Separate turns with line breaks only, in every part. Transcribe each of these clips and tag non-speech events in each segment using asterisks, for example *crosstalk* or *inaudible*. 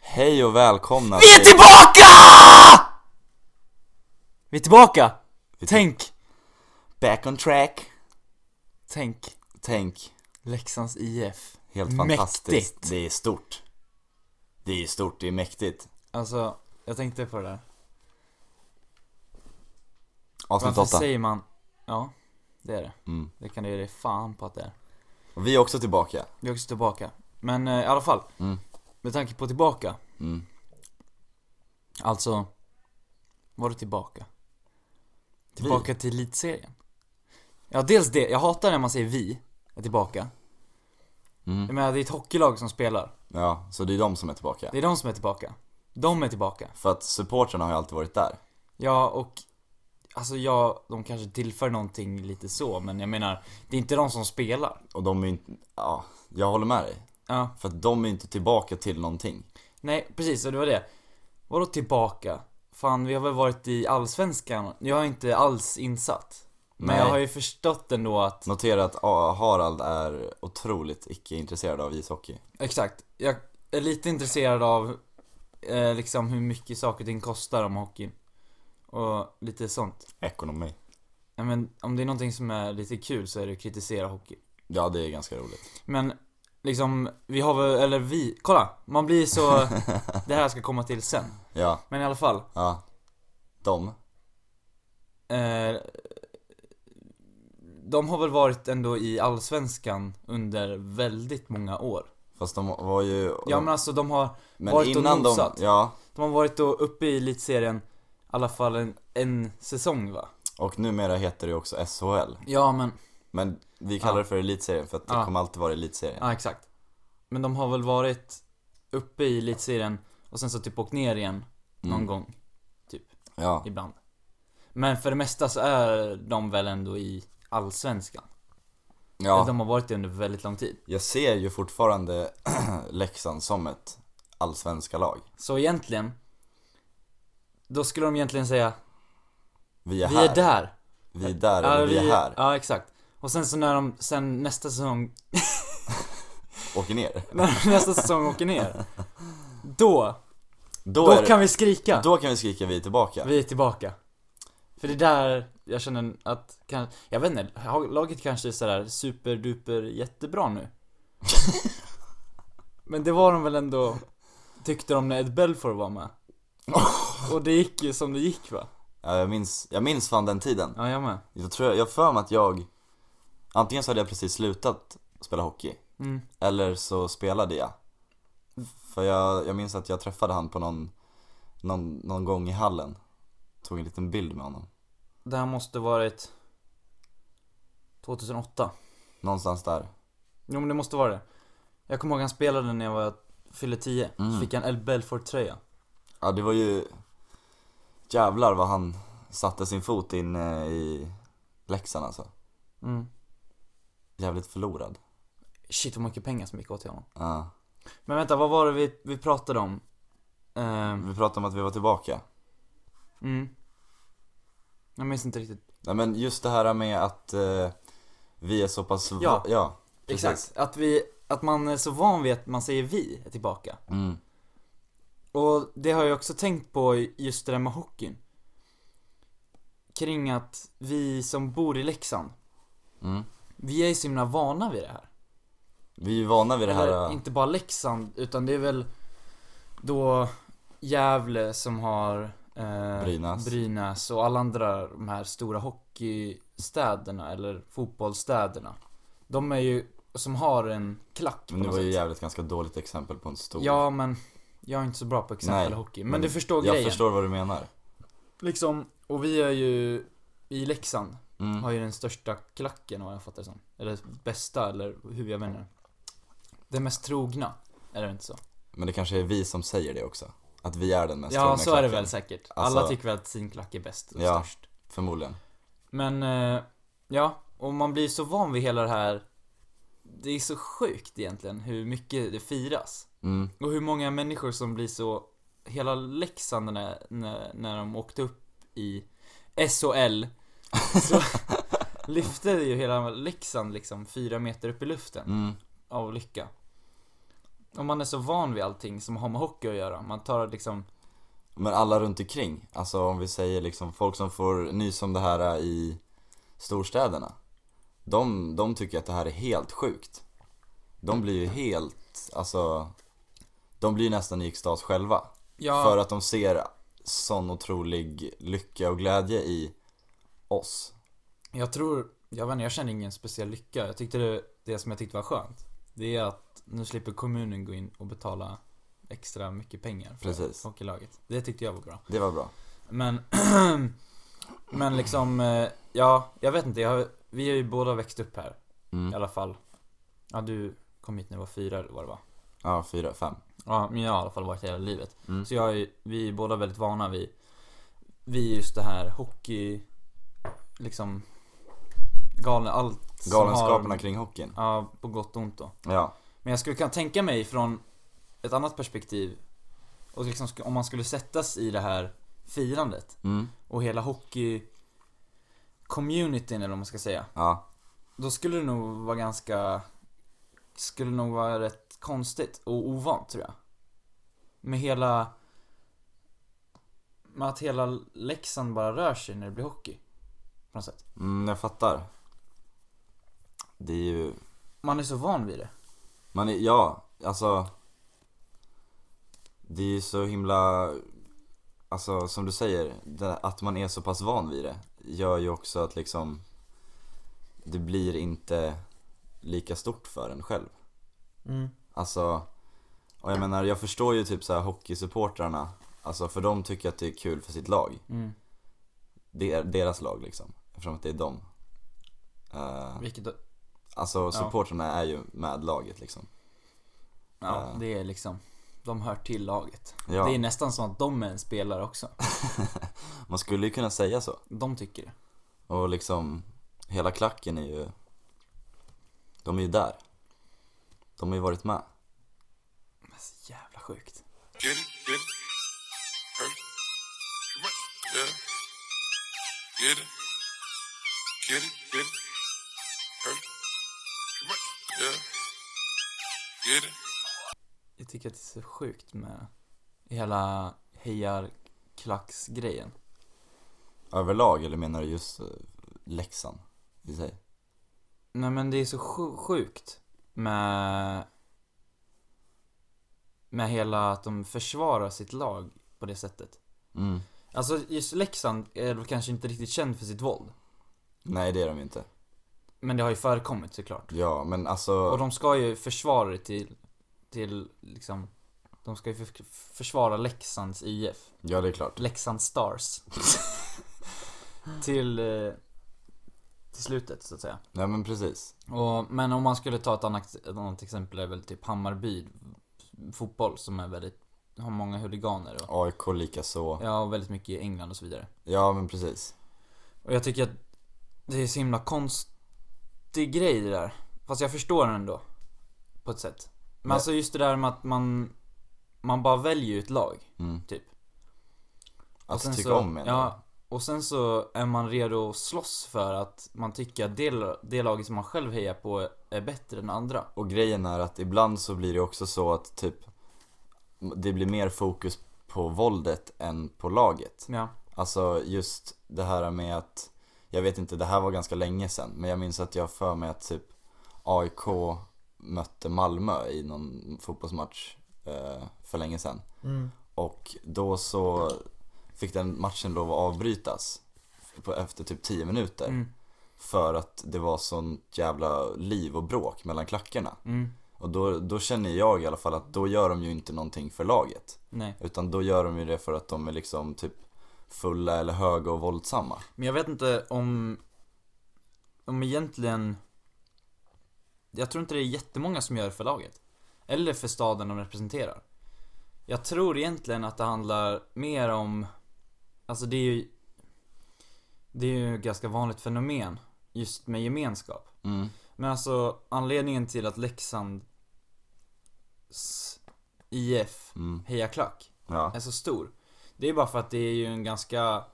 Hej och välkomna
Vi är tillbaka! Vi är tillbaka!
Vi är
Tänk,
Back on track
tänk
Tänk,
Leksands IF
helt fantastiskt
Mäktigt.
Det är stort Det är stort, det är mäktigt
Alltså, jag tänkte på det där
Avsnitt
Varför
8
säger man... Ja, det är det
mm.
Det kan du ge dig fan på att det är
Och Vi är också tillbaka
Vi är också tillbaka Men eh, i alla fall
Mm.
Med tanke på tillbaka
mm.
Alltså Var du tillbaka? Tillbaka till elitserien? Ja, dels det, jag hatar när man säger vi är tillbaka
Mm.
Jag menar, det är ett hockeylag som spelar
Ja, så det är de som är tillbaka
Det är de som är tillbaka De är tillbaka
För att supportrarna har ju alltid varit där
Ja, och alltså ja, de kanske tillför någonting lite så, men jag menar, det är inte de som spelar.
Och de är ju inte, ja, jag håller med dig
Ja,
För att de är ju inte tillbaka till någonting
nej, precis, och det var det. Vadå tillbaka? Fan, vi har väl varit i Allsvenskan? Jag är inte alls insatt. Men
Nej.
jag har ju förstått ändå att,
Notera att ah, Harald är otroligt icke-intresserad av ishockey
exakt, jag är lite intresserad av eh, liksom hur mycket saker och ting kostar om hockeyn. Och lite sånt.
Ekonomi
Ja, men om det är någonting som är lite kul så är det att kritisera hockey.
Ja, det är ganska roligt
Men liksom, vi har väl, eller vi, kolla! Man blir så, *laughs* det här ska komma till sen.
Ja,
Men i alla fall,
ja De
eh, de har väl varit ändå i Allsvenskan under väldigt många år.
Fast de var ju...
Ja men alltså de har,
men
varit och
innan de...
nosat.
Ja,
de har varit då uppe i elitserien, i alla fall en, en säsong va?
och numera heter det ju också SHL.
Ja men,
Men vi kallar
Ja.
det för elitserien för att det
Ja.
kommer alltid vara elitserien.
ja exakt. Men de har väl varit uppe i elitserien och sen så typ åkt ner igen någon
Mm.
gång,
Ja,
ibland. Men för det mesta så är de väl ändå i Allsvenskan.
ja.
De har varit det under väldigt lång tid.
Jag ser ju fortfarande *clears throat* Leksand som ett allsvenska lag.
Så egentligen, då skulle de egentligen säga
Vi är
Vi
här.
är där.
Vi är där, eller vi är här.
Ja, exakt. Och sen så när de sen nästa säsong, *laughs*
Åker ner.
när de nästa säsong
*laughs*
åker ner. Då,
Då,
då
är
kan
det,
vi skrika.
då kan vi skrika vi är tillbaka.
Vi är tillbaka. För det är där jag känner att, kan, jag vet inte, har- laget kanske är sådär superduper
*laughs*
jättebra nu. Men det var de väl ändå, tyckte de när Ed Belfour
*laughs*
var med. Och det gick ju som det gick va?
Ja, jag, minns, jag minns fan den tiden.
Ja, jag med.
Jag tror, jag jag har för mig att jag... Antingen så hade jag precis slutat spela hockey.
Mm.
Eller så spelade jag. För jag, jag minns att jag träffade han på någon, någon, någon gång i hallen. Tog en liten bild med honom.
Det här måste varit 2008.
Någonstans där.
Jo men det måste vara det. Jag kommer ihåg han spelade när jag var, fyllde 10.
Mm.
Så fick jag en Ed Belfour tröja.
Ja det var ju... Jävlar vad han satte sin fot in eh, i Leksand alltså.
Mm.
Jävligt förlorad.
Shit vad mycket pengar som gick åt till honom.
Ja.
Men vänta, vad var det vi, vi pratade om? Ehm,
Vi pratade om att vi var tillbaka.
mm. Jag minns inte riktigt.
Nej men just det här med att eh, vi är så pass... va-
Ja.
ja precis.
Exakt. Att vi, att man är så van vid att man säger vi är tillbaka.
Mm.
Och det har jag också tänkt på just det där med hockeyn. Kring att vi som bor i Leksand,
Mm.
vi är ju så himla vana vid det här.
Vi är ju vana vid det här...
Eller
eh,
inte bara Leksand, utan det är väl då Gävle som har eh,
Brynäs.
Brynäs och alla andra de här stora hockeystäderna eller fotbollsstäderna. De är ju, som har en klack på
Men det
något
var ju
sätt.
jävligt ganska dåligt exempel på en stor...
Ja men, jag är inte så bra på exempel
Nej,
hockey. Men,
men
du förstår
jag
grejen.
förstår vad du menar.
Liksom, och vi är ju, i Leksand
Mm.
har ju den största klacken vad jag fattar det som. Eller bästa, eller hur jag menar. Den mest trogna, är det inte så?
Men det kanske är vi som säger det också. Att vi är den mest
Ja,
trogna
så är det
klacken.
väl säkert.
Alltså-
Alla tycker väl att sin klack är bäst och
Ja.
störst.
Förmodligen.
Men, eh, ja. Och man blir så van vid hela det här. Det är så sjukt egentligen hur mycket det firas.
Mm.
Och hur många människor som blir så... Hela Leksand när, när, när de åkte upp i
*laughs*
SHL så lyfte ju hela Leksand liksom fyra meter upp i luften
Mm.
av lycka. om man är så van vid allting som har med hockey att göra, man tar liksom
Men alla runt omkring, alltså om vi säger liksom folk som får nys om det här i storstäderna. De, de tycker att det här är helt sjukt. De blir ju helt, alltså, de blir nästan i extas själva.
Ja,
För att de ser sån otrolig lycka och glädje i oss.
jag tror, jag vet inte, jag känner ingen speciell lycka. Jag tyckte det, det som jag tyckte var skönt, det är att nu slipper kommunen gå in och betala extra mycket pengar för
Precis.
hockeylaget. Det tyckte jag var bra.
Det var bra.
Men, *clears throat* men liksom, eh, ja, jag vet inte. Jag, har- vi har ju båda växt upp här i
Mm.
alla fall. Ja, du kom hit när du var fyra eller vad det var.
Ja, fyra, fem.
Ja, men jag har i alla fall varit hela livet.
Mm.
Så jag är, vi är båda väldigt vana vid, vid just det här hockey, liksom, galen, allt som
Galenskaperna
har-
kring hockeyn.
Ja, på gott och ont då.
Ja,
Men jag skulle kunna tänka mig från ett annat perspektiv, och liksom, sk- om man skulle sättas i det här firandet
mm.
och hela hockey communityn eller vad man ska säga.
ja,
Då skulle det nog vara ganska, skulle nog vara rätt konstigt och ovant tror jag. Med hela, med att hela läxan bara rör sig när det blir hockey. På något sätt.
mm, jag fattar. Det är ju,
Man är så van vid det.
man är, ja, alltså. Det är ju så himla, alltså som du säger, det, att man är så pass van vid det gör ju också att liksom, det blir inte lika stort för en själv. Alltså, och jag menar jag förstår ju typ så här hockeysupportrarna, alltså för de tycker att det är kul för sitt lag.
Mm.
Det är deras lag liksom, eftersom att det är dem. Eh,
Vilket, ja,
alltså supportrarna är ju med laget liksom. Ja.
det är liksom, de hör till laget.
Ja,
Det är nästan som att de är en spelare också.
man skulle ju kunna säga så.
De tycker det.
Och liksom, hela klacken är ju, de är ju där. De har ju varit med.
Men så jävla sjukt.
Get it, get it. Hurt. Come on. Yeah. Get it. Get it, get it. Hurt. Come on. Yeah. Get it.
Jag tycker att det är så sjukt med hela hejarklacksgrejen.
Överlag, eller menar du just eh, Leksand i sig?
Nej men det är så sju- sjukt med... Med hela att de försvarar sitt lag på det sättet.
Mm.
Alltså just Leksand är väl kanske inte riktigt känd för sitt våld.
Nej det är de ju inte.
Men det har ju förekommit såklart.
Ja, men alltså.
Och de ska ju försvara det till, till liksom... De ska ju för, försvara Leksands IF.
Ja, det är klart.
Leksand Stars. *laughs* till... eh, Till slutet så att säga.
Nej men precis.
Och, men om man skulle ta ett annat, ett annat exempel är väl typ Hammarby fotboll som är väldigt, har många huliganer och,
AIK lika så.
ja, och väldigt mycket i England och så vidare.
Ja men precis.
Och jag tycker att det är så himla konstig grej det där. Fast jag förstår den ändå. På ett sätt. Men
Nej.
alltså just det där med att man, man bara väljer ut lag.
Mm.
Typ. Och
Att
sen
tycka
så,
om menar jag.
Ja, och sen så är man redo att slåss för att man tycker att det, det laget som man själv hejar på är bättre än andra.
Och grejen är att ibland så blir det också så att typ det blir mer fokus på våldet än på laget.
Ja.
Alltså just det här med att, jag vet inte, det här var ganska länge sedan, men jag minns att jag har för mig att typ AIK mötte Malmö i någon fotbollsmatch eh, för länge sedan.
Mm.
Och då så fick den matchen lov att avbrytas på, efter typ 10 minuter.
Mm.
För att det var sånt jävla liv och bråk mellan klackarna.
Mm.
Och då, då känner jag i alla fall att då gör de ju inte någonting för laget.
Nej.
Utan då gör de ju det för att de är liksom typ fulla eller höga och våldsamma.
Men jag vet inte om... Om egentligen... Jag tror inte det är jättemånga som gör det för laget. Eller för staden de representerar. Jag tror egentligen att det handlar mer om... Alltså det är ju... Det är ju ett ganska vanligt fenomen. Just med gemenskap.
Mm.
Men alltså anledningen till att Leksands IF
Mm.
hejaklack
Ja.
är så stor. Det är bara för att det är ju en ganska,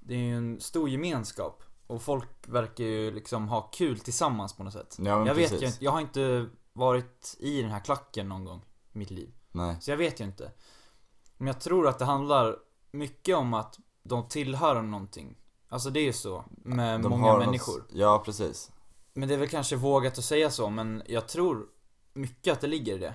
det är ju en stor gemenskap. Och folk verkar ju liksom ha kul tillsammans på något sätt.
Ja, men
jag
precis.
vet ju inte, jag har inte varit i den här klacken någon gång. mitt liv.
Nej.
Så jag vet ju inte. Men jag tror att det handlar mycket om att de tillhör någonting. Alltså det är ju så med
De
många
har något-
människor.
Ja, precis.
Men det är väl kanske vågat att säga så, men jag tror mycket att det ligger i det.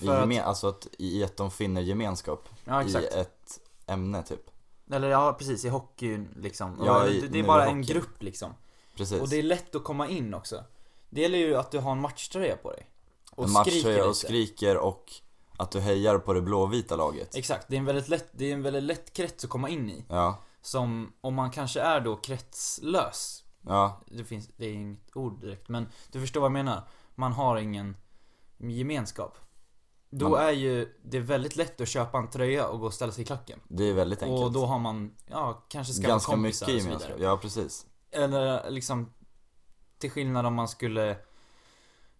I
För att,
gemen, Alltså att, i att de finner gemenskap
ja
i
exakt.
ett ämne typ.
Eller ja, precis, i hockeyn liksom.
Ja,
Eller
i-
det, det
nu
är
i
bara en
hockeyn.
grupp liksom.
Precis.
Och det är lätt att komma in också. Det gäller ju att du har en matchtröja på dig. Och
en
skriker
matchtröja
lite.
och skriker och att du hejar på det blåvita laget.
Exakt, det är, en väldigt lätt, det är en väldigt lätt krets att komma in i.
Ja,
Som, om man kanske är då kretslös.
ja,
Det finns, det är inget ord direkt, men du förstår vad jag menar. Man har ingen gemenskap. Då
Man-
är ju det är väldigt lätt att köpa en tröja och gå och ställa sig i klacken.
det är väldigt enkelt.
Och då har man, ja, kanske skaffat
Ganska
kompisar
mycket
och så vidare.
gemenskap. Ja, precis.
Eller liksom Till skillnad om man skulle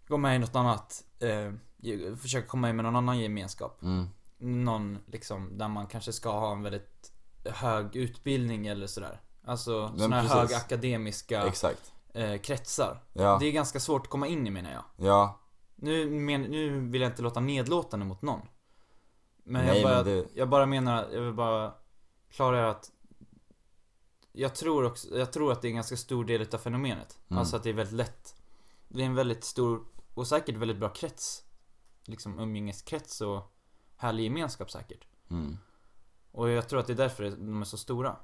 Gå med i något annat eh, ge- Försöka komma in med någon annan gemenskap
Mm.
Någon liksom där man kanske ska ha en väldigt Hög utbildning eller sådär Alltså
Men
sådana här
precis.
höga akademiska
Exakt.
eh, kretsar
Ja,
Det är ganska svårt att komma in i menar jag
ja.
Nu, men, nu vill jag inte låta nedlåtande mot någon Men,
Nej,
jag, bara,
men det-
jag bara menar, jag vill bara klargöra att jag tror, också, jag tror att det är en ganska stor del utav fenomenet.
Mm.
Alltså att det är väldigt lätt. Det är en väldigt stor och säkert väldigt bra krets. Liksom umgängeskrets och härlig gemenskap säkert.
Mm.
Och jag tror att det är därför de är så stora.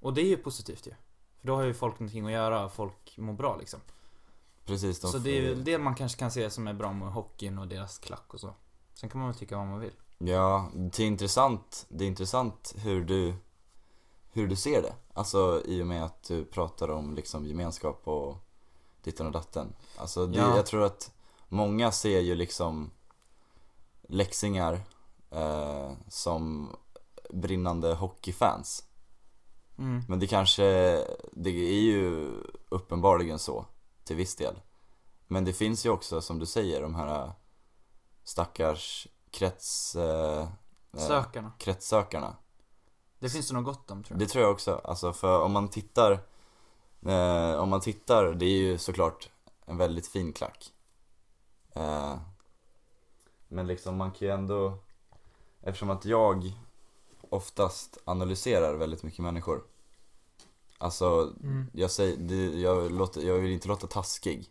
Och det är ju positivt ju. För då har ju folk någonting att göra och folk mår bra liksom.
Precis. De
Så det är
får-
väl det man kanske kan se som är bra med hockeyn och deras klack och så. Sen kan man väl tycka vad man vill.
Ja, det är intressant, det är intressant hur, du, hur du ser det. Alltså i och med att du pratar om liksom gemenskap och ditten och datten. Alltså det,
Ja.
jag tror att många ser ju liksom läxingar eh, som brinnande hockeyfans.
Mm.
Men det kanske, det är ju uppenbarligen så till viss del. Men det finns ju också som du säger de här äh, stackars krets... Eh, eh,
Sökarna.
kretssökarna.
Det finns det nog gott om tror jag.
Det tror jag också. Alltså för om man tittar, eh, om man tittar, det är ju såklart en väldigt fin klack. Eh, men liksom man kan ju ändå, eftersom att jag oftast analyserar väldigt mycket människor. Alltså,
Mm.
jag, säger, det, jag, låter, jag vill inte låta taskig.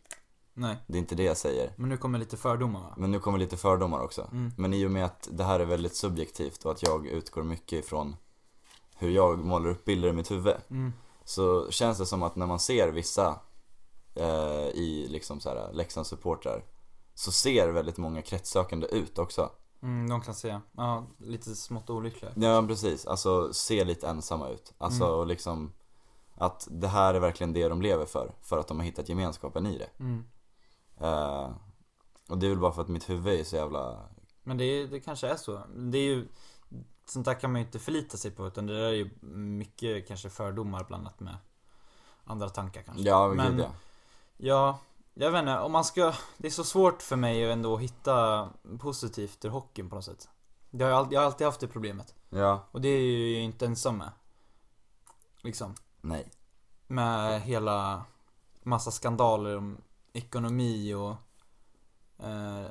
Nej.
Det är inte det jag säger.
Men nu kommer lite fördomar va?
Men nu kommer lite fördomar också.
Mm.
Men i och med att det här är väldigt subjektivt och att jag utgår mycket ifrån hur jag målar upp bilder i mitt huvud.
Mm.
Så känns det som att när man ser vissa eh, i liksom så här Leksandssupportrar så ser väldigt många kretssökande ut också.
Mm, de kan säga. Ja, lite smått olyckliga.
Ja men precis, alltså ser lite ensamma ut. Alltså
Mm.
och liksom att det här är verkligen det de lever för, för att de har hittat gemenskapen i det.
Mm.
Eh, och det är väl bara för att mitt huvud är så jävla...
Men det, är- det kanske är så. Det är ju Sånt där kan man ju inte förlita sig på utan det där är ju mycket kanske fördomar blandat med andra tankar kanske.
Ja,
Men-
gud ja.
Ja, jag vet inte. Om man ska... Det är så svårt för mig att ändå hitta positivt ur hockeyn på något sätt. Det har jag, all, jag har alltid haft det problemet.
Ja,
Och det är ju jag inte ensam med. Liksom.
nej.
Med hela massa skandaler om ekonomi och... Eh,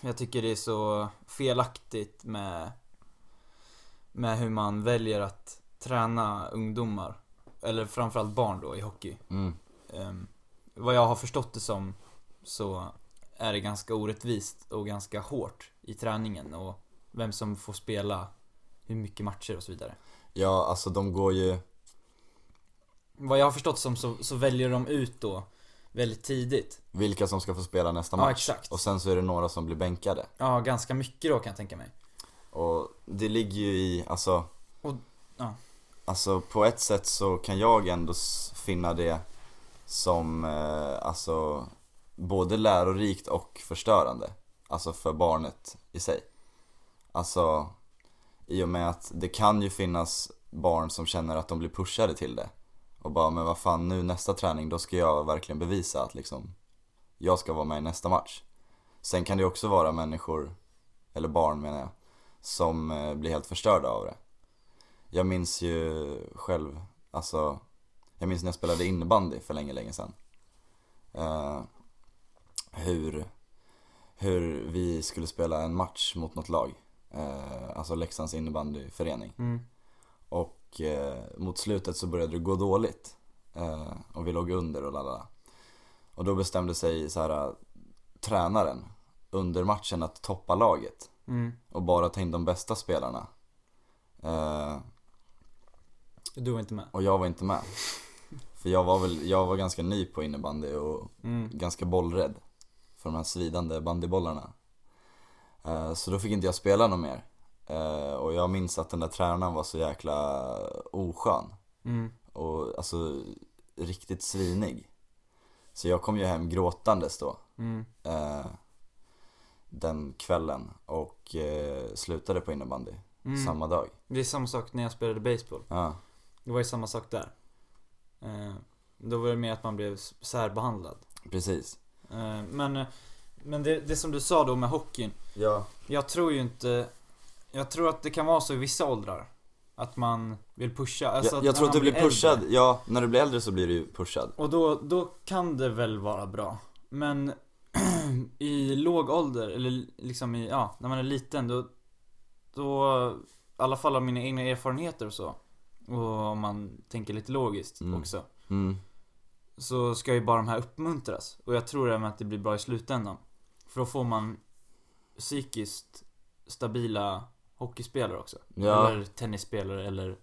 jag tycker det är så felaktigt med... Med hur man väljer att träna ungdomar. Eller framförallt barn då i hockey.
Mm.
Ehm, vad jag har förstått det som så är det ganska orättvist och ganska hårt i träningen och vem som får spela hur mycket matcher och så vidare.
Ja, alltså de går ju...
Vad jag har förstått som så, så väljer de ut då väldigt tidigt.
vilka som ska få spela nästa
Ja,
match.
exakt.
Och sen så är det några som blir bänkade.
Ja, ganska mycket då kan jag tänka mig.
Och det ligger ju i, alltså...
Och- ja.
Alltså på ett sätt så kan jag ändå s- finna det som, eh, alltså, både lärorikt och förstörande. Alltså för barnet i sig. Alltså, i och med att det kan ju finnas barn som känner att de blir pushade till det. Och bara, men vad fan nu nästa träning, då ska jag verkligen bevisa att liksom, jag ska vara med i nästa match. Sen kan det ju också vara människor, eller barn menar jag, som eh, blir helt förstörda av det. Jag minns ju själv, alltså, jag minns när jag spelade innebandy för länge, länge sedan. Eh, hur, hur vi skulle spela en match mot något lag. Eh, alltså Leksands innebandyförening.
Mm.
Och eh, mot slutet så började det gå dåligt. Eh, och vi låg under och lalala. Och då bestämde sig så här, eh, tränaren under matchen att toppa laget
Mm.
och bara ta in de bästa spelarna. Eh,
Du var inte med?
och jag var inte med. För jag var väl, jag var ganska ny på innebandy och
Mm.
ganska bollrädd för de här svidande bandybollarna. Eh, Så då fick inte jag spela någon mer. Eh, Och jag minns att den där tränaren var så jäkla oskön
Mm.
och alltså riktigt svinig. Så jag kom ju hem gråtandes då
Mm.
eh, den kvällen och eh, slutade på innebandy
Mm.
samma dag.
Det är samma sak när jag spelade baseball.
Ja,
Det var ju samma sak där. Eh, då var det mer att man blev s- särbehandlad.
precis.
Eh, men eh, men det, det som du sa då med hockeyn.
Ja.
Jag tror ju inte... Jag tror att det kan vara så i vissa åldrar. Att man vill pusha. Alltså
jag jag
när
tror att du
man
blir pushad,
äldre.
ja, när du blir äldre så blir du ju pushad.
Och då, då kan det väl vara bra. Men *clears throat* i låg ålder, eller liksom i, ja, när man är liten då, då, i alla fall av mina egna erfarenheter och så. Och om man tänker lite logiskt
Mm.
också.
Mm.
Så ska ju bara de här uppmuntras. Och jag tror även att det blir bra i slutändan. För då får man psykiskt stabila hockeyspelare också.
Ja.
Eller tennisspelare eller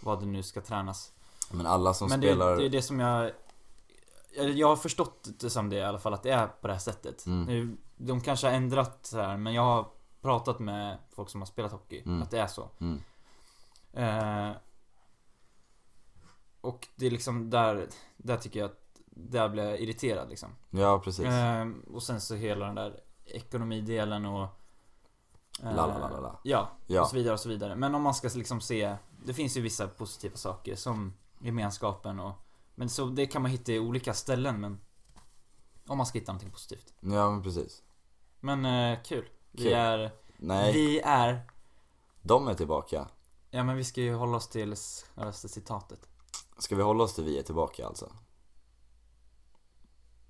vad det nu ska tränas.
Men alla som
Men det,
spelar...
det är det som jag... eller Jag har förstått det som det i alla fall, att det är på det här sättet.
Mm.
Nu, De kanske har ändrat så här, men jag har pratat med folk som har spelat hockey,
Mm.
att det är så.
Mm.
Eh, och det är liksom där, där tycker jag att, där blir jag irriterad liksom.
Ja, precis.
Eh, och sen så hela den där ekonomidelen och... eh,
La, la, la, la, la.
Ja, och
Ja,
så vidare och så vidare. Men om man ska liksom se, det finns ju vissa positiva saker som gemenskapen och Men så det kan man hitta i olika ställen men Om man ska hitta någonting positivt.
ja men precis.
Men eh, kul. Vi
Kul.
är,
Nej,
vi är
de är tillbaka.
Ja men vi ska ju hålla oss till självaste citatet.
Ska vi hålla oss till vi är tillbaka alltså?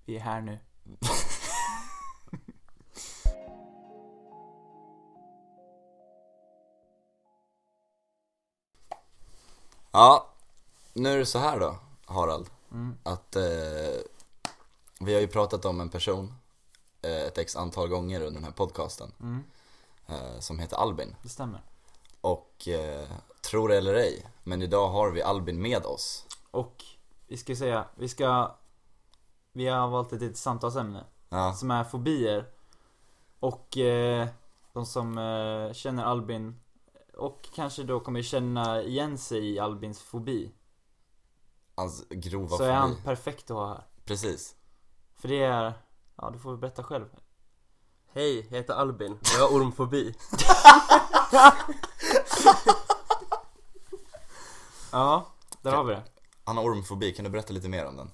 Vi är här nu.
Ja, nu är det så här då, Harald.
Mm.
Att eh, vi har ju pratat om en person eh, ett x antal gånger under den här podcasten
Mm,
eh, som heter Albin.
det stämmer.
Och eh, tro det eller ej, men idag har vi Albin med oss.
Och vi ska säga, vi ska Vi har valt ett litet samtalsämne.
Ja,
som är fobier. Och eh, de som eh, känner Albin och kanske då kommer känna igen sig i Albins fobi.
hans grova
så är han
fobi.
perfekt att ha här.
Precis.
För det är, ja du får väl berätta själv.
Hej, jag heter Albin och jag har ormfobi.
Ja, där har vi det.
Han har ormfobi, kan du berätta lite mer om den?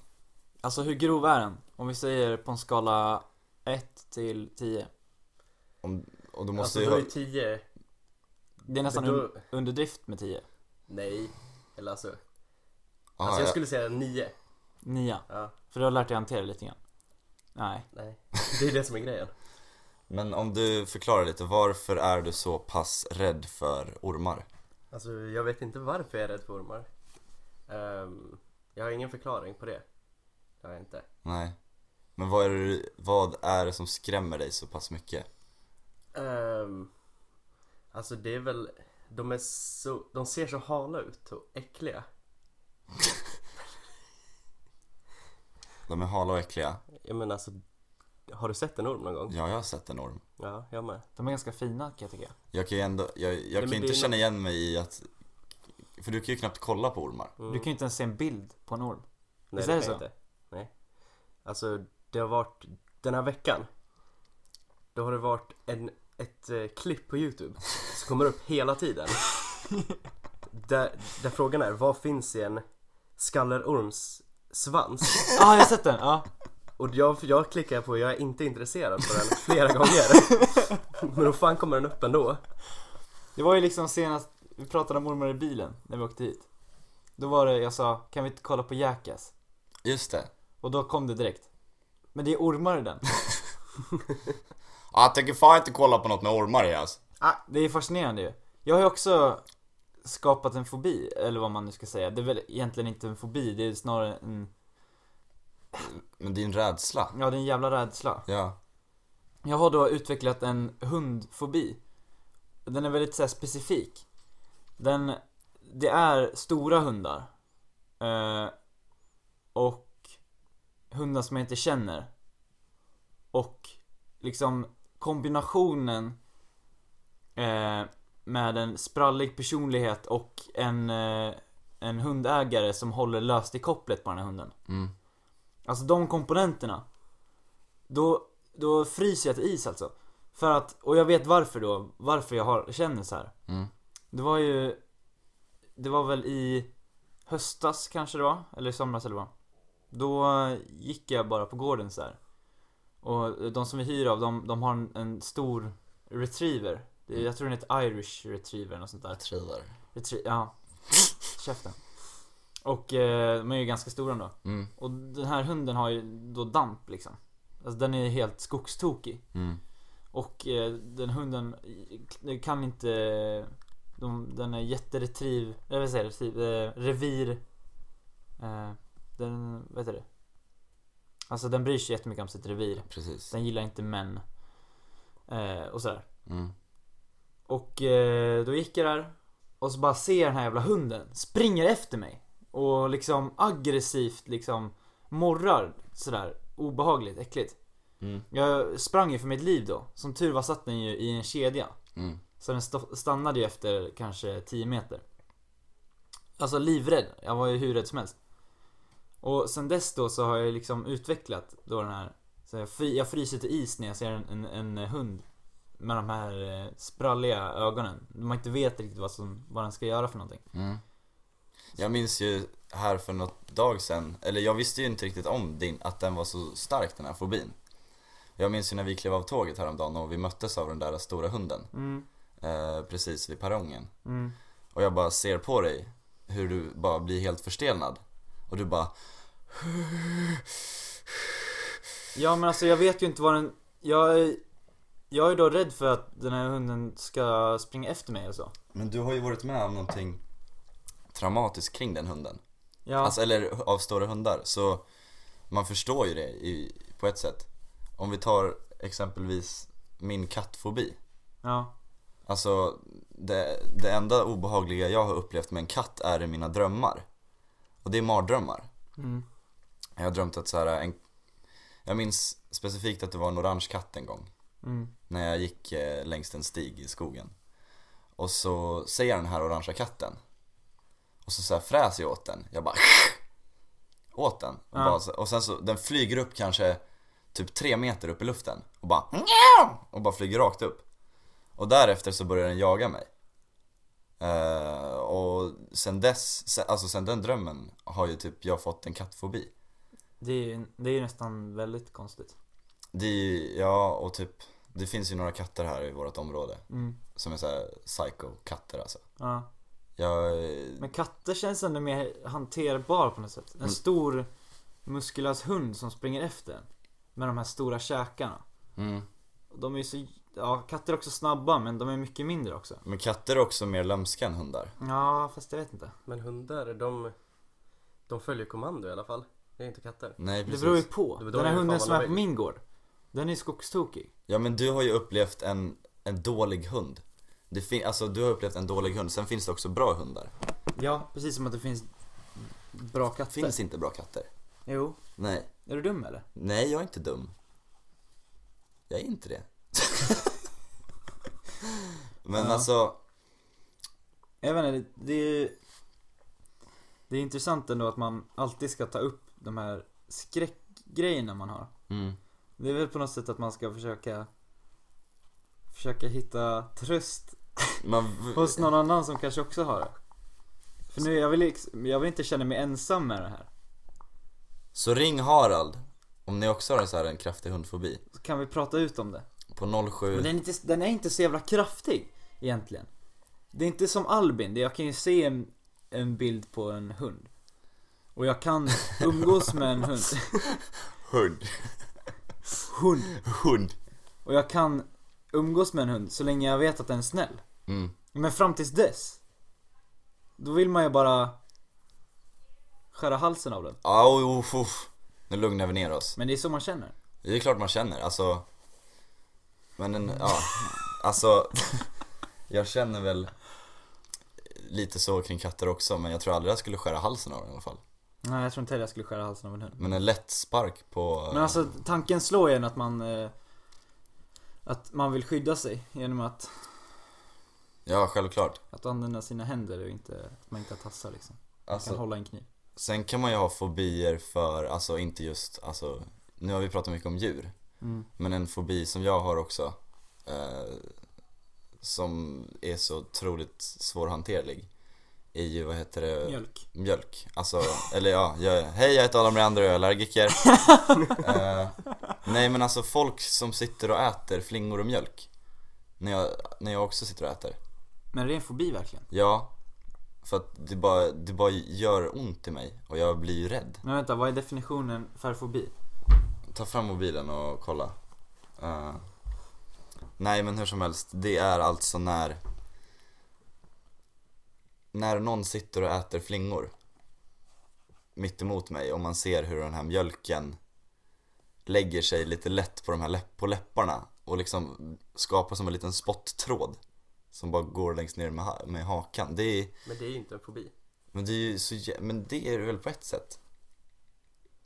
Alltså hur grov är den? Om vi säger på en skala 1 till 10.
Om, och då måste
Alltså
vi
då
ha-
är ju 10.
Det är nästan
Men då-
un- underdrift med 10.
Nej. Eller alltså.
Aha,
alltså jag
Ah, ja.
skulle säga 9.
9.
Ja,
För du har lärt dig hantera det lite grann. Nej.
nej. Det är det som är grejen.
Men om du förklarar lite, varför är du så pass rädd för ormar?
Alltså jag vet inte varför jag är rädd för ormar. Ehm, jag har ingen förklaring på det. Det har jag inte.
Nej. Men vad är, det, vad är det som skrämmer dig så pass mycket?
Ehm, alltså det är väl, de är så, de ser så hala ut och äckliga.
De är hala och äckliga.
Jag menar alltså, har du sett en orm någon gång?
Ja, jag har sett en orm.
Ja, jag med.
De är ganska fina kan jag tycka.
Jag kan ju ändå, jag, jag kan
men
ju
det
inte
är
känna igen mig i att... För du kan ju knappt kolla på ormar.
Mm.
Du kan ju inte ens se en bild på en orm.
Nej,
Visst
det
är det
kan jag
så?
inte. Nej. Alltså, det har varit, den här veckan, då har det varit en, ett eh, klipp på YouTube som kommer upp hela tiden.
*laughs*
där, där frågan är, vad finns i en skallerorms svans?
*laughs* Ja, ah, jag har sett den! Ja.
Och jag, jag klickar på, jag är inte intresserad på den flera
*laughs*
gånger. Men då fan kommer den upp ändå.
Det var ju liksom senast vi pratade om ormar i bilen när vi åkte hit. Då var det, jag sa, kan vi inte kolla på Jackass?
Just det.
Och då kom det direkt. Men det är ormar i den.
Ah,
Ja, jag tänker fan inte kolla på något med ormar i alltså.
Ah, det är fascinerande ju. Jag har ju också skapat en fobi, eller vad man nu ska säga. Det är väl egentligen inte en fobi, det är snarare en,
Men din rädsla?
ja det är en jävla rädsla.
Ja.
Jag har då utvecklat en hundfobi. Den är väldigt så här, specifik. Den, det är stora hundar. Eh, och hundar som jag inte känner. Och liksom kombinationen eh, med en sprallig personlighet och en, eh, en hundägare som håller löst i kopplet på den här hunden.
Mm.
Alltså de komponenterna. Då, då fryser jag till is alltså. För att, och jag vet varför då, varför jag har, känner så här.
Mm.
Det var ju, det var väl i höstas kanske det var, eller i somras eller vad. Då gick jag bara på gården så här. Och de som vi hyr av, de, de har en, en stor retriever. Det- Jag tror den heter Irish retriever eller något sånt där.
Trider.
Retrie- ja. Käften. Och eh, de är ju ganska stora då.
Mm.
Och den här hunden har ju då damp liksom. Alltså den är ju helt skogstokig.
Mm.
Och eh, den hunden eh, kan inte... De, den är jätteretriv... Jag vill säga retriv, eh, revir... Eh, den... Vad heter det? Alltså den bryr sig jättemycket om sitt revir.
Precis.
Den gillar inte män. Eh, och sådär.
Mm.
Och eh, då gick jag där och så bara ser jag den här jävla hunden springer efter mig och liksom aggressivt liksom morrar sådär obehagligt, äckligt.
Mm.
Jag sprang ju för mitt liv då. Som tur var satt den ju i en kedja.
Mm.
Så den sto- stannade ju efter kanske 10 meter. Alltså livrädd. Jag var ju hur rädd som helst. Och sen dess då så har jag liksom utvecklat då den här. Så jag, fry, jag fryser till is när jag ser en, en, en hund. Med de här eh, spralliga ögonen. Man inte vet riktigt vad, som, vad den ska göra för någonting.
Mm. Jag minns ju här för något dag sedan, eller jag visste ju inte riktigt om din, att den var så stark den här fobin. Jag minns ju när vi klev av tåget häromdagen och vi möttes av den där stora hunden
Mm,
eh, precis vid perrongen.
mm.
Och jag bara ser på dig hur du bara blir helt förstelnad. Och du bara
Ja men alltså jag vet ju inte vad den... Jag är, jag är då rädd för att den här hunden ska springa efter mig och så.
Men du har ju varit med om någonting traumatiskt kring den hunden.
Ja.
Alltså, eller av stora hundar. Så man förstår ju det i, på ett sätt. Om vi tar exempelvis min kattfobi.
ja.
Alltså det, det enda obehagliga jag har upplevt med en katt är i mina drömmar. Och det är mardrömmar.
Mm.
Jag har drömt att så här, en, jag minns specifikt att det var en orange katt en gång.
Mm.
När jag gick eh, längs en stig i skogen. Och så ser jag den här orangea katten. Och så, så här fräser jag åt den. Jag bara *laughs* åt den. Och,
Ja.
bara, så- och sen så, den flyger upp kanske typ tre meter upp i luften. Och bara *laughs* och bara flyger rakt upp. Och därefter så börjar den jaga mig. Eh, och sen dess, se- alltså sen den drömmen har ju typ jag fått en kattfobi.
Det är, ju- det är ju nästan väldigt konstigt.
Det är ju, ja och typ, det finns ju några katter här i vårt område.
Mm.
Som är såhär psycho-katter alltså. eh,
Ja.
Jag,
Men katter känns ändå mer hanterbar på något sätt.
Mm.
En stor muskulös hund som springer efter en. Med de här stora käkarna.
mm.
Och De är ju så... Ja, katter är också snabba men de är mycket mindre också.
Men katter är också mer lömska än hundar.
Ja, fast jag vet inte.
Men hundar, de, de följer kommando i alla fall. Det är inte katter.
Nej
Det
precis.
beror ju på.
Det beror
Den här
ju fan
hunden
vad
som är
de
på
är.
min gård. Den är ju skogstokig.
Ja men du har ju upplevt en, en dålig hund. Det fin- alltså du har upplevt en dålig hund, sen finns det också bra hundar.
Ja, precis som att det finns bra katter.
Finns inte bra katter?
Jo.
Nej.
Är du dum eller?
Nej, jag är inte dum. Jag är inte det. *laughs* Men
Ja.
alltså,
Jag vet inte, det, det är Det är intressant ändå att man alltid ska ta upp de här skräckgrejerna man har
mm,
Det är väl på något sätt att man ska försöka Försöka hitta tröst
man,
hos någon annan som kanske också har det För nu, jag vill, ex- jag vill inte känna mig ensam med det här
så ring Harald om ni också har så här en kraftig hundfobi.
Så kan vi prata ut om det
På 07,
Men den är inte, den är inte så jävla kraftig egentligen Det är inte som Albin, det- jag kan ju se en, en bild på en hund Och jag kan umgås med en hund
hund,
Hund
hund.
Och jag kan umgås med en hund så länge jag vet att den är snäll.
Mm.
Men fram tills dess. Då vill man ju bara skära halsen av den.
Au, uff, uff. Nu lugnar vi ner oss.
Men det är så man känner.
Det är klart man känner, alltså. Men en, ja.
*laughs*
Alltså, jag känner väl lite så kring katter också, men jag tror aldrig jag skulle skära halsen av den i alla fall.
Nej jag tror inte heller jag skulle skära halsen av en hund.
Men en lätt spark på...
Men alltså tanken slår en att man eh, Att man vill skydda sig genom att,
Ja, självklart.
att använda sina händer och inte, att man inte tassar liksom. Man kan
Alltså,
hålla en kniv.
sen kan man ju ha fobier för, alltså inte just, alltså, nu har vi pratat mycket om djur.
Mm.
Men en fobi som jag har också, eh, som är så otroligt svårhanterlig, är ju vad heter det?
Mjölk.
mjölk. Alltså, eller ja, jag, hej jag heter Adam Leander och jag är
*laughs*
allergiker. eh, nej men alltså folk som sitter och äter flingor och mjölk. När jag, när jag också sitter och äter.
Men det är en fobi verkligen.
Ja, för att det bara, det bara gör ont i mig och jag blir ju rädd.
Men vänta, vad är definitionen för fobi?
Ta fram mobilen och kolla. Eh, nej men hur som helst, det är alltså när när någon sitter och äter flingor mitt emot mig och man ser hur den här mjölken lägger sig lite lätt på de här läpp- på läpparna och liksom skapar som en liten spotttråd som bara går längst ner med, ha- med hakan. Det är,
Men det är ju inte en fobi.
men det är ju så jä- men det är det väl på ett sätt.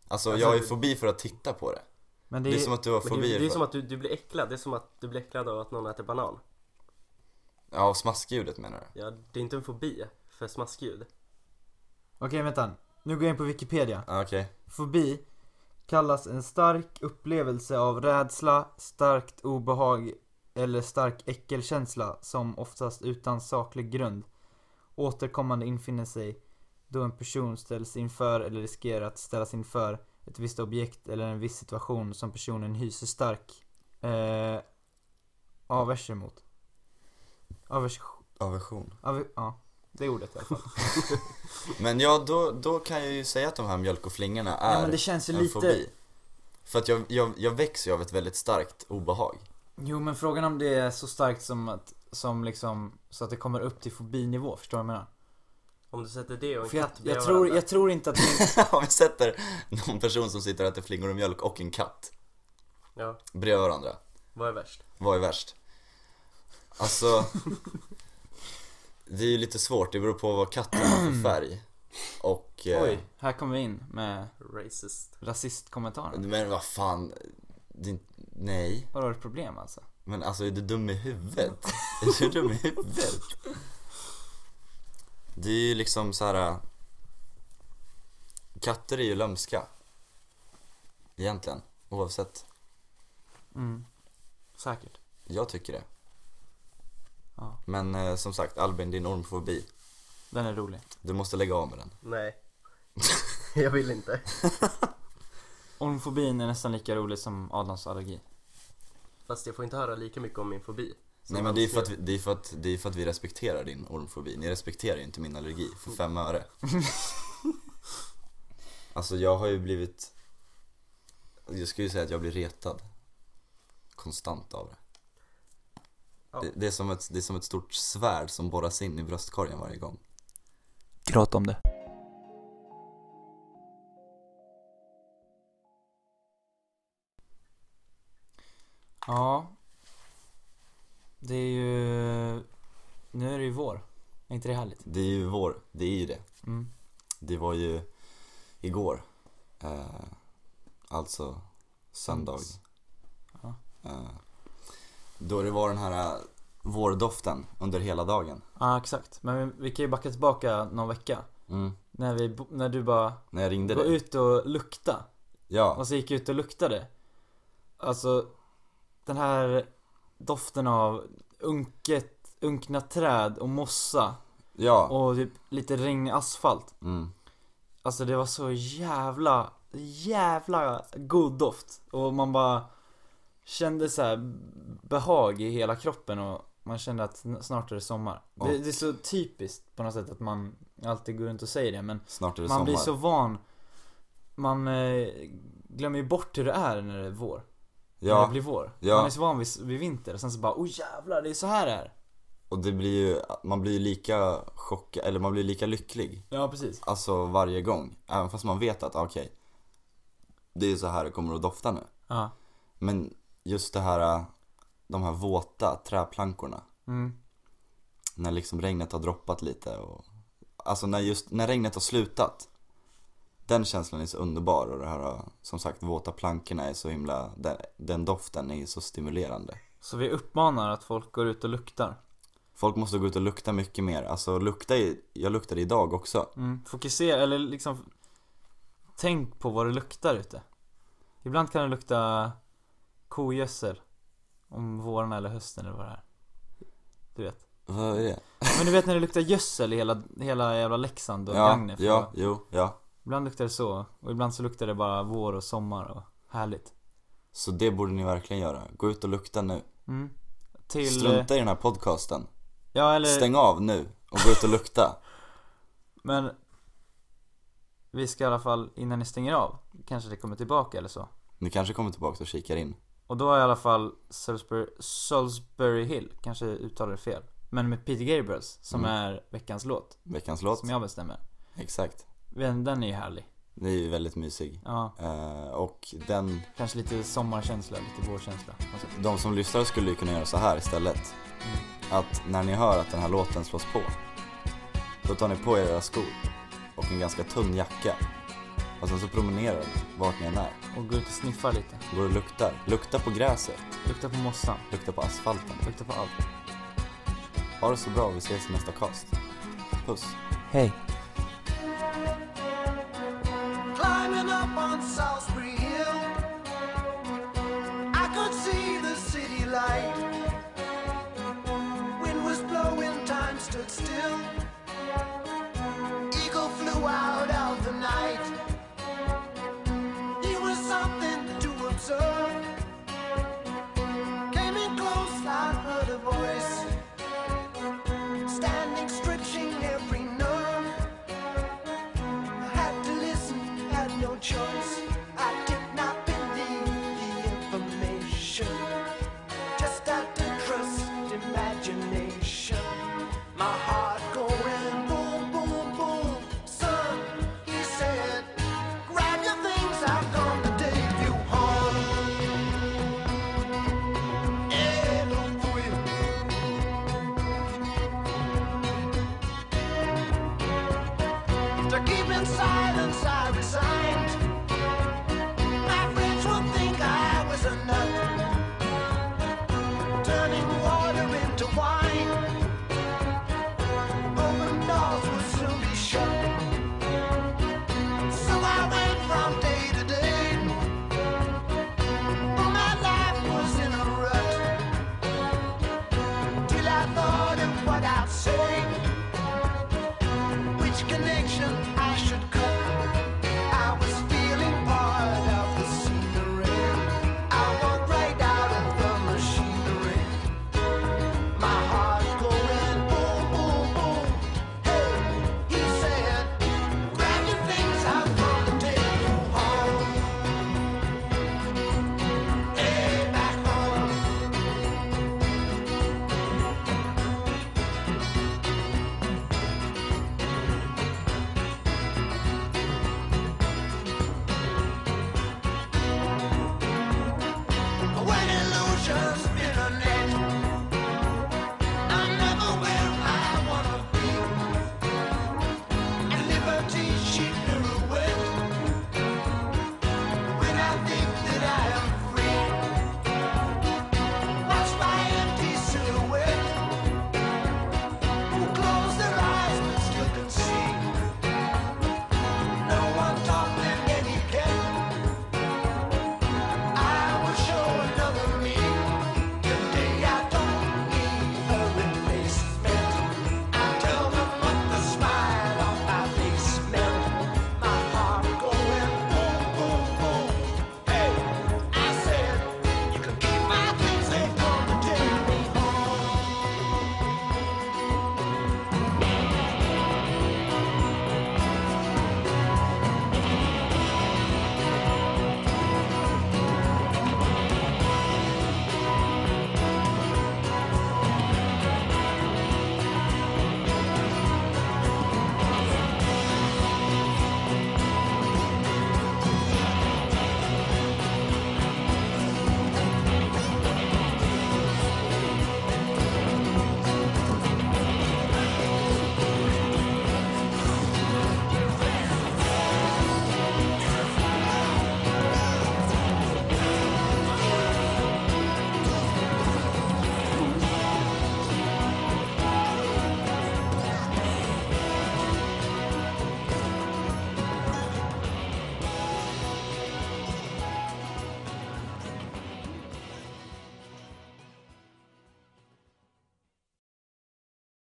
Alltså,
Alltså,
jag har ju
det-
fobi för att titta på det.
Men
Det, är som att du har
Men det, är-
fobier
det är
för...
som att du, du blir äcklad. Det är som att du blir äcklad av att någon äter banan.
Ja, och smaskljudet menar du?
Ja, det är inte en fobi för smaskljud.
Okej, vänta. Nu går jag in på Wikipedia.
Ja, okej.
Fobi kallas en stark upplevelse av rädsla, starkt obehag eller stark äckelkänsla som oftast utan saklig grund återkommande infinner sig då en person ställs inför eller riskerar att ställas inför ett visst objekt eller en viss situation som personen hyser stark eh, avers emot. Avers...
Aversion.
Av, ja, det är ordet i alla fall.
Men ja, då, då kan jag ju säga att de här mjölk och flingorna är
Ja, men det känns ju
en
lite...
fobi. För att jag, jag, jag växer ju av ett väldigt starkt obehag. *laughs*
Jo men frågan om det är så starkt som att, som liksom, så att det kommer upp till fobinivå, förstår du vad jag menar?
Om du sätter det och en
För jag,
katt bredvid
jag, tror,
varandra.
jag tror inte att min,
Om vi sätter någon person som sitter och äter flingor och mjölk och en katt
Ja,
bredvid varandra,
vad är värst?
vad är värst? Alltså... det är ju lite svårt, det beror på vad katten har för färg. Och... eh,
Oj.
*laughs* här kommer vi in med
Racist.
rasistkommentaren.
Men vad fan, det, är inte- nej.
Vadå, ett problem alltså?
Men alltså är du dum i huvudet? Är du dum i huvudet? Det är ju liksom så här. äh, Katter är ju lömska. Egentligen, oavsett.
Mm. Säkert.
Jag tycker det.
Ja.
Men eh, som sagt, Albin, din ormfobi.
Den är rolig.
Du måste lägga av med den.
Nej. *laughs* jag vill inte.
Ormfobin är nästan lika rolig som Adams allergi.
Fast jag får inte höra lika mycket om min fobi. som
Nej men
han
det är, för att
beskrev.
vi, det, är för att, det är för att vi respekterar din ormfobi. Ni respekterar ju inte min allergi för fem *laughs* öre. Alltså jag har ju blivit... Jag skulle ju säga att jag blir retad. Konstant av det.
Ja.
Det, det, är som ett, det är som ett stort svärd som borras in i bröstkorgen varje gång.
Prata om det. Ja. Det är ju... Nu är det ju vår. Är inte det härligt?
Det är ju vår, det är ju det.
Mm.
Det var ju igår. Eh, alltså söndag.
Ja.
Eh, då det var den här eh, vårdoften under hela dagen.
Ja, exakt. Men vi, vi kan ju backa tillbaka någon vecka. När, vi, bo- när du bara
När jag ringde
var
dig.
ute och lukta
Ja,
Och så gick jag ut och luktade. Alltså, den här doften av unket, unkna träd och mossa.
ja.
Och typ lite regnig asfalt.
Mm.
Alltså det var så jävla, jävla god doft. Och man bara kände så här behag i hela kroppen och man kände att n- snart är det sommar.
Ja.
Det, det är så typiskt på något sätt att man alltid går runt och säger det men
Snart är det
man
sommar.
blir så van. Man eh, glömmer ju bort hur det är när det är vår. när
Ja,
det blir vår.
Ja.
Man är så van vid, vid vinter, och sen så bara oh jävlar det är så här det är.
och det blir ju, man blir ju lika chockad, eller man blir lika lycklig
Ja precis.
Alltså varje gång, även fast man vet att okej Det är så här det kommer att dofta nu
Ja.
Men just det här, äh, de här våta träplankorna
Mm.
När liksom regnet har droppat lite och Alltså när just, när regnet har slutat Den känslan är så underbar och det här äh, som sagt våta plankorna är så himla Den, den doften är så stimulerande
Så vi uppmanar att folk går ut och luktar.
Folk måste gå ut och lukta mycket mer, alltså lukta i, jag luktade idag också
Mm. Fokusera, eller liksom Tänk på vad det luktar ute. Ibland kan det lukta kogödsel. Om våren eller hösten eller vad det är. Du vet.
Vad är det?
Men du vet när det luktar gödsel i hela, hela jävla Leksand och
Ja,
Gagnef. och-
ja, jo, ja
Ibland luktar det så. Och ibland så luktar det bara vår och sommar och härligt.
Så det borde ni verkligen göra, gå ut och lukta nu
Mm. Till... eh,
Strunta i den här podcasten,
Ja eller...
stäng av nu och gå ut och lukta
Men vi ska i alla fall, innan ni stänger av, kanske det kommer tillbaka eller så.
Ni kanske kommer tillbaka och kikar in
Och då har i alla fall Salisbury, Salisbury Hill, kanske jag uttalar det fel. Men med Peter Gabriels, som är veckans låt,
veckans låt
som jag bestämmer.
Exakt,
Den, den är ju härlig.
det är ju väldigt mysig
Ja,
Eh, Och den,
kanske lite sommarkänsla, lite vårkänsla. på något sätt.
de som lyssnar skulle ju kunna göra så här istället
Mm.
Att när ni hör att den här låten slås på Då tar ni på er era skor och en ganska tunn jacka Och sen så promenerar ni vart ni än är
Och gå ut och sniffa lite.
Går och luktar. Lukta på gräset.
Lukta på mossan,
Lukta på asfalten.
lukta på allt.
Ha det så bra. Vi ses i nästa cast. Puss.
Hej.
climbing up on Salisbury Hill. I could see the city light. Wind was blowing, time stood still. Eagle flew out of the night. It was something to observe. Came in close, I heard a voice. Standing, stretching every nerve had to listen, had no choice. I did not believe the information. Just had to trust imagination. My heart going boom, boom, boom. Son, he said, grab your things, I'm gonna take you home. Eh, no fui. to keep in silence I resist.